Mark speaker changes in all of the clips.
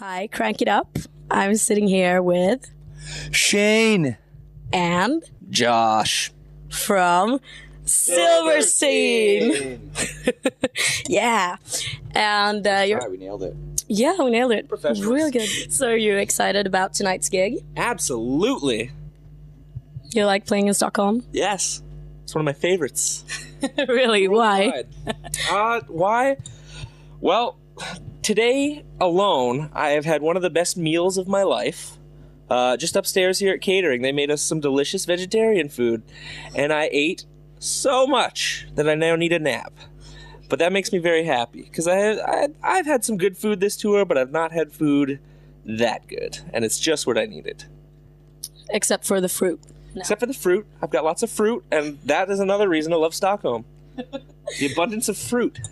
Speaker 1: Hi, Crank It Up. I'm sitting here with
Speaker 2: Shane,
Speaker 1: and
Speaker 2: Josh,
Speaker 1: from Silverstein. Yeah. And uh, you're,
Speaker 3: All right, we nailed it.
Speaker 1: yeah, we nailed it.
Speaker 3: Professionals.
Speaker 1: Real good. So, are you excited about tonight's gig?
Speaker 3: Absolutely.
Speaker 1: You like playing in Stockholm?
Speaker 3: Yes. It's one of my favorites.
Speaker 1: really? Why?
Speaker 3: Why? uh, why? Well, today alone, I have had one of the best meals of my life. Uh, just upstairs here at catering, they made us some delicious vegetarian food, and I ate so much that I now need a nap. But that makes me very happy because I, I I've had some good food this tour, but I've not had food that good, and it's just what I needed.
Speaker 1: Except for the fruit. No.
Speaker 3: Except for the fruit. I've got lots of fruit, and that is another reason I love Stockholm. the abundance of fruit.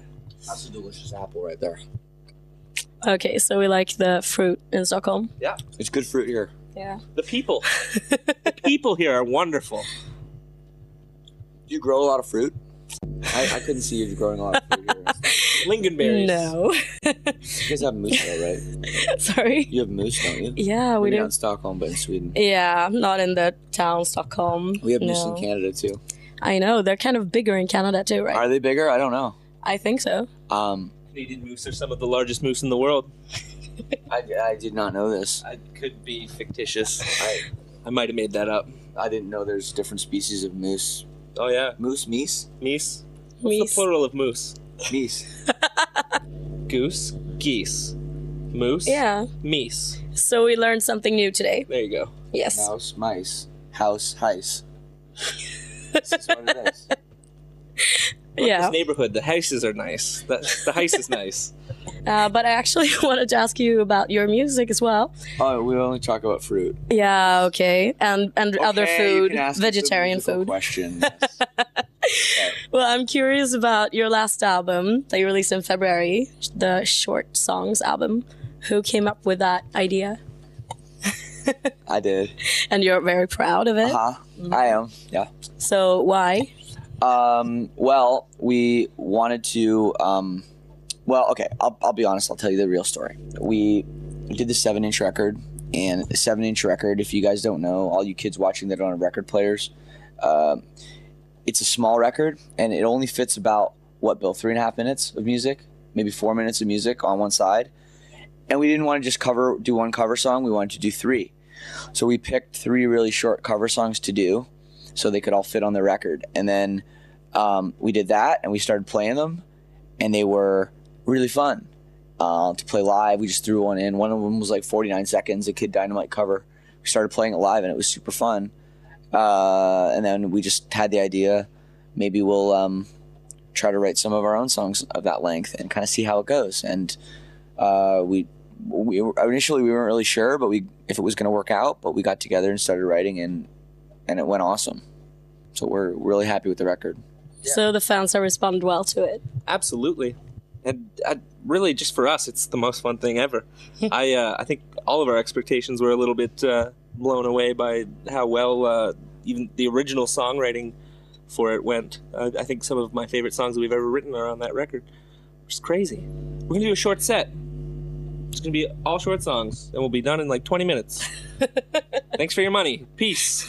Speaker 2: That's a delicious apple right there.
Speaker 1: Okay, so we like the fruit in Stockholm.
Speaker 2: It's good fruit here.
Speaker 1: Yeah.
Speaker 3: The people. the people here are wonderful.
Speaker 2: Do you grow a lot of fruit?
Speaker 4: I, I couldn't see you growing a lot of food here.
Speaker 3: Lingonberries.
Speaker 1: No.
Speaker 4: You guys have moose though, right?
Speaker 1: Sorry.
Speaker 4: You have moose, don't you?
Speaker 1: Yeah, we
Speaker 4: Maybe not
Speaker 1: do.
Speaker 4: in Stockholm, but in Sweden.
Speaker 1: Yeah, not in the town Stockholm.
Speaker 4: We have moose
Speaker 1: no.
Speaker 4: in Canada too.
Speaker 1: I know they're kind of bigger in Canada too, right?
Speaker 4: Are they bigger? I don't know.
Speaker 1: I think so.
Speaker 4: Um,
Speaker 3: Canadian moose are some of the largest moose in the world.
Speaker 4: I, I did not know this.
Speaker 3: I could be fictitious.
Speaker 4: I,
Speaker 3: I might have made that up.
Speaker 4: I didn't know there's different species of moose.
Speaker 3: Oh yeah.
Speaker 4: Moose, meese,
Speaker 3: Meese. What's the
Speaker 1: Meese.
Speaker 3: plural of moose?
Speaker 4: meese.
Speaker 3: Goose. Geese. Moose.
Speaker 1: Yeah.
Speaker 3: Meese.
Speaker 1: So we learned something new today.
Speaker 3: There you go.
Speaker 1: Yes.
Speaker 4: Mouse, mice, house, heis. this is what it is.
Speaker 3: Like
Speaker 1: Yeah.
Speaker 3: This neighborhood, the houses are nice. The, the house is nice.
Speaker 1: Uh, but I actually wanted to ask you about your music as well.
Speaker 4: Oh, we only talk about fruit.
Speaker 1: Yeah. Okay. And and other
Speaker 4: Okay, you
Speaker 1: food,
Speaker 4: can ask us a
Speaker 1: vegetarian
Speaker 4: musical
Speaker 1: food.
Speaker 4: Question. yes.
Speaker 1: Well, I'm curious about your last album that you released in February, the short songs album. Who came up with that idea?
Speaker 4: I did.
Speaker 1: And you're very proud of it.
Speaker 4: Uh huh. I am. Yeah.
Speaker 1: So why?
Speaker 4: Um, well, we wanted to. Um, well, okay, I'll, I'll be honest. I'll tell you the real story. We did the seven inch record, and the seven inch record, if you guys don't know, all you kids watching that on record players, um it's a small record, and it only fits about what, Bill, three and a half minutes of music, maybe four minutes of music on one side. And we didn't want to just cover, do one cover song. We wanted to do three. So we picked three really short cover songs to do so they could all fit on the record. And then um, we did that and we started playing them and they were really fun uh, to play live we just threw one in one of them was like 49 seconds a kid dynamite cover we started playing it live and it was super fun uh, and then we just had the idea maybe we'll um, try to write some of our own songs of that length and kind of see how it goes and uh, we we were- initially we weren't really sure but we if it was going to work out but we got together and started writing and and it went awesome so we're really happy with the record
Speaker 1: So the fans have responded well to it.
Speaker 3: Absolutely. And uh, really, just for us, it's the most fun thing ever. I uh, I think all of our expectations were a little bit uh, blown away by how well uh, even the original songwriting for it went. Uh, I think some of my favorite songs that we've ever written are on that record, which is crazy. We're gonna do a short set. It's gonna be all short songs, and we'll be done in like 20 minutes. Thanks for your money. Peace.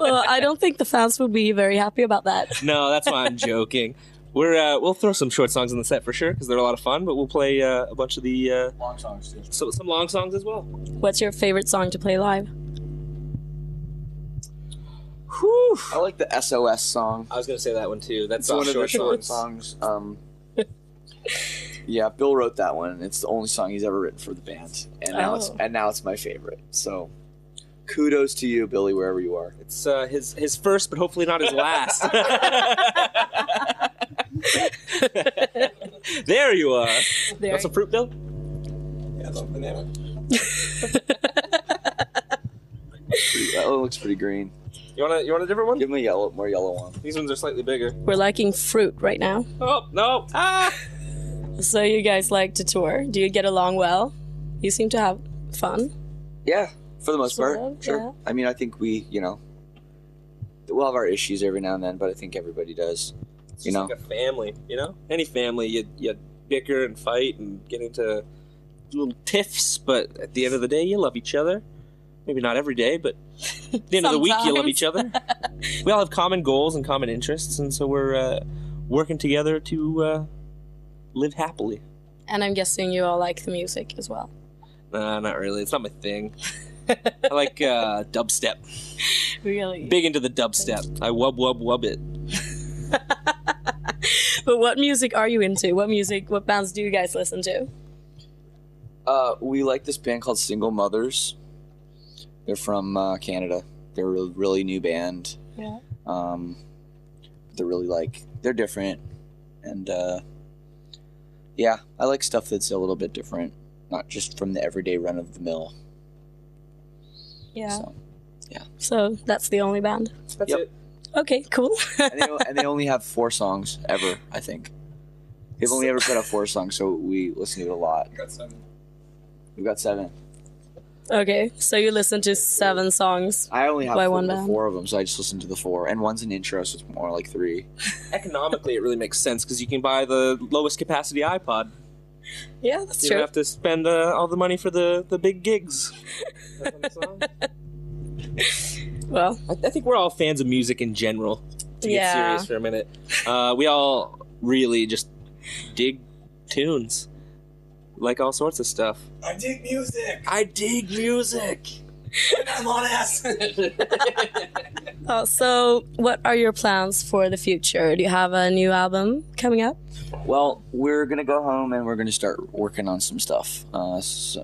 Speaker 1: well, I don't think the fans would be very happy about that.
Speaker 3: No, that's why I'm joking. We're uh, we'll throw some short songs in the set for sure because they're a lot of fun. But we'll play uh, a bunch of the uh,
Speaker 4: long songs too.
Speaker 3: so, some long songs as well.
Speaker 1: What's your favorite song to play live?
Speaker 3: Whew.
Speaker 4: I like the SOS song.
Speaker 3: I was gonna say that one too. That's
Speaker 4: It's one of the short songs. Um, yeah, Bill wrote that one. It's the only song he's ever written for the band, and now it's
Speaker 1: Oh.
Speaker 4: and now it's my favorite. So, kudos to you, Billy, wherever you are.
Speaker 3: It's uh, his his first, but hopefully not his last. there you are.
Speaker 1: There.
Speaker 3: Want some fruit, Bill?
Speaker 2: Yeah, I love banana.
Speaker 4: Pretty- That one looks pretty green.
Speaker 3: You want a you want a different one?
Speaker 4: Give him a yellow, more yellow one.
Speaker 3: These ones are slightly bigger.
Speaker 1: We're liking fruit right now.
Speaker 3: Oh no! Ah!
Speaker 1: So you guys like to tour? Do you get along well? You seem to have fun.
Speaker 4: Yeah, for the most
Speaker 1: Sort
Speaker 4: part,
Speaker 1: of,
Speaker 4: sure.
Speaker 1: yeah.
Speaker 4: I mean, I think we, you know, we'll have our issues every now and then, but I think everybody does.
Speaker 3: It's
Speaker 4: You
Speaker 3: just
Speaker 4: know.
Speaker 3: like a family. You know, any family, you you bicker and fight and get into little tiffs, but at the end of the day, you love each other. Maybe not every day, but at the end of the week, you love each other. we all have common goals and common interests, and so we're uh, working together to uh, live happily.
Speaker 1: And I'm guessing you all like the music as well.
Speaker 3: Nah, not really. It's not my thing. I like uh, dubstep.
Speaker 1: Really?
Speaker 3: Big into the dubstep. I wub wub wub it.
Speaker 1: but what music are you into? What music, what bands do you guys listen to?
Speaker 4: Uh, we like this band called Single Mothers. They're from uh, Canada. They're a really, really new band.
Speaker 1: Yeah.
Speaker 4: Um, they're really like they're different, and uh, yeah, I like stuff that's a little bit different, not just from the everyday run of the mill.
Speaker 1: Yeah.
Speaker 4: So.
Speaker 1: So that's the only band.
Speaker 3: That's
Speaker 4: Yep.
Speaker 3: it.
Speaker 1: Okay, cool.
Speaker 4: And, they, and they only have four songs ever, I think. They've only ever put out four songs, so we listen to it a lot.
Speaker 2: Got seven.
Speaker 4: We've got seven.
Speaker 1: okay, so you listen to seven songs.
Speaker 4: I only have
Speaker 1: Why
Speaker 4: four,
Speaker 1: one
Speaker 4: the
Speaker 1: band?
Speaker 4: four of them, so I just listen to the four. And one's an intro, so it's more like three.
Speaker 3: Economically, it really makes sense because you can buy the lowest capacity iPod.
Speaker 1: Yeah, that's
Speaker 3: You
Speaker 1: true.
Speaker 3: don't have to spend uh, all the money for the, the big gigs.
Speaker 1: well,
Speaker 3: I, I think we're all fans of music in general. To
Speaker 1: Yeah.
Speaker 3: get serious for a minute, uh, we all really just dig tunes, like all sorts of stuff.
Speaker 2: I dig music.
Speaker 3: I dig music.
Speaker 2: I'm on acid.
Speaker 1: oh, so what are your plans for the future? Do you have a new album coming up?
Speaker 4: Well, we're gonna go home and we're gonna start working on some stuff, uh, s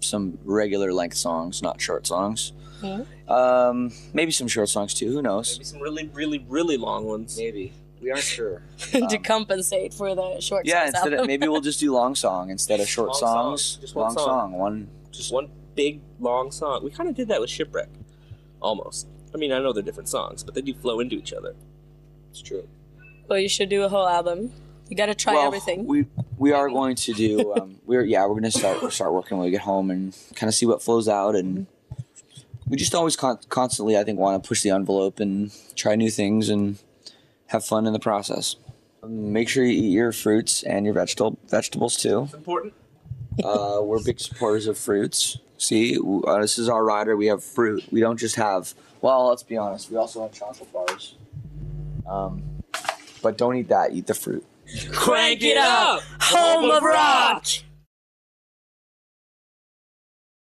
Speaker 4: some regular length songs, not short songs.
Speaker 1: Okay.
Speaker 4: Um, maybe some short songs too. Who knows?
Speaker 3: Maybe some really, really, really long ones.
Speaker 4: Maybe we aren't sure.
Speaker 1: to
Speaker 4: Um,
Speaker 1: compensate for the short
Speaker 4: yeah,
Speaker 1: songs
Speaker 4: instead
Speaker 1: album.
Speaker 4: of maybe we'll just do long song instead of short
Speaker 3: Long song,
Speaker 4: songs.
Speaker 3: just one
Speaker 4: long
Speaker 3: song.
Speaker 4: song, one.
Speaker 3: Just one big long song. We kind of did that with Shipwreck, almost. I mean, I know they're different songs, but they do flow into each other.
Speaker 4: It's true.
Speaker 1: well, you should do a whole album. You gotta try
Speaker 4: well,
Speaker 1: everything.
Speaker 4: we we are going to do. Um, we're yeah, we're gonna start start working when we get home and kind of see what flows out and. We just always con- constantly, I think, want to push the envelope and try new things and have fun in the process. Um, Make sure you eat your fruits and your vegetable vegetables too.
Speaker 3: It's important.
Speaker 4: Uh, we're big supporters of fruits. See, w- uh, this is our rider. We have fruit. We don't just have. Well, let's be honest. We also have chocolate bars. Um, but don't eat that. Eat the fruit.
Speaker 1: Crank it up! Home of Rock!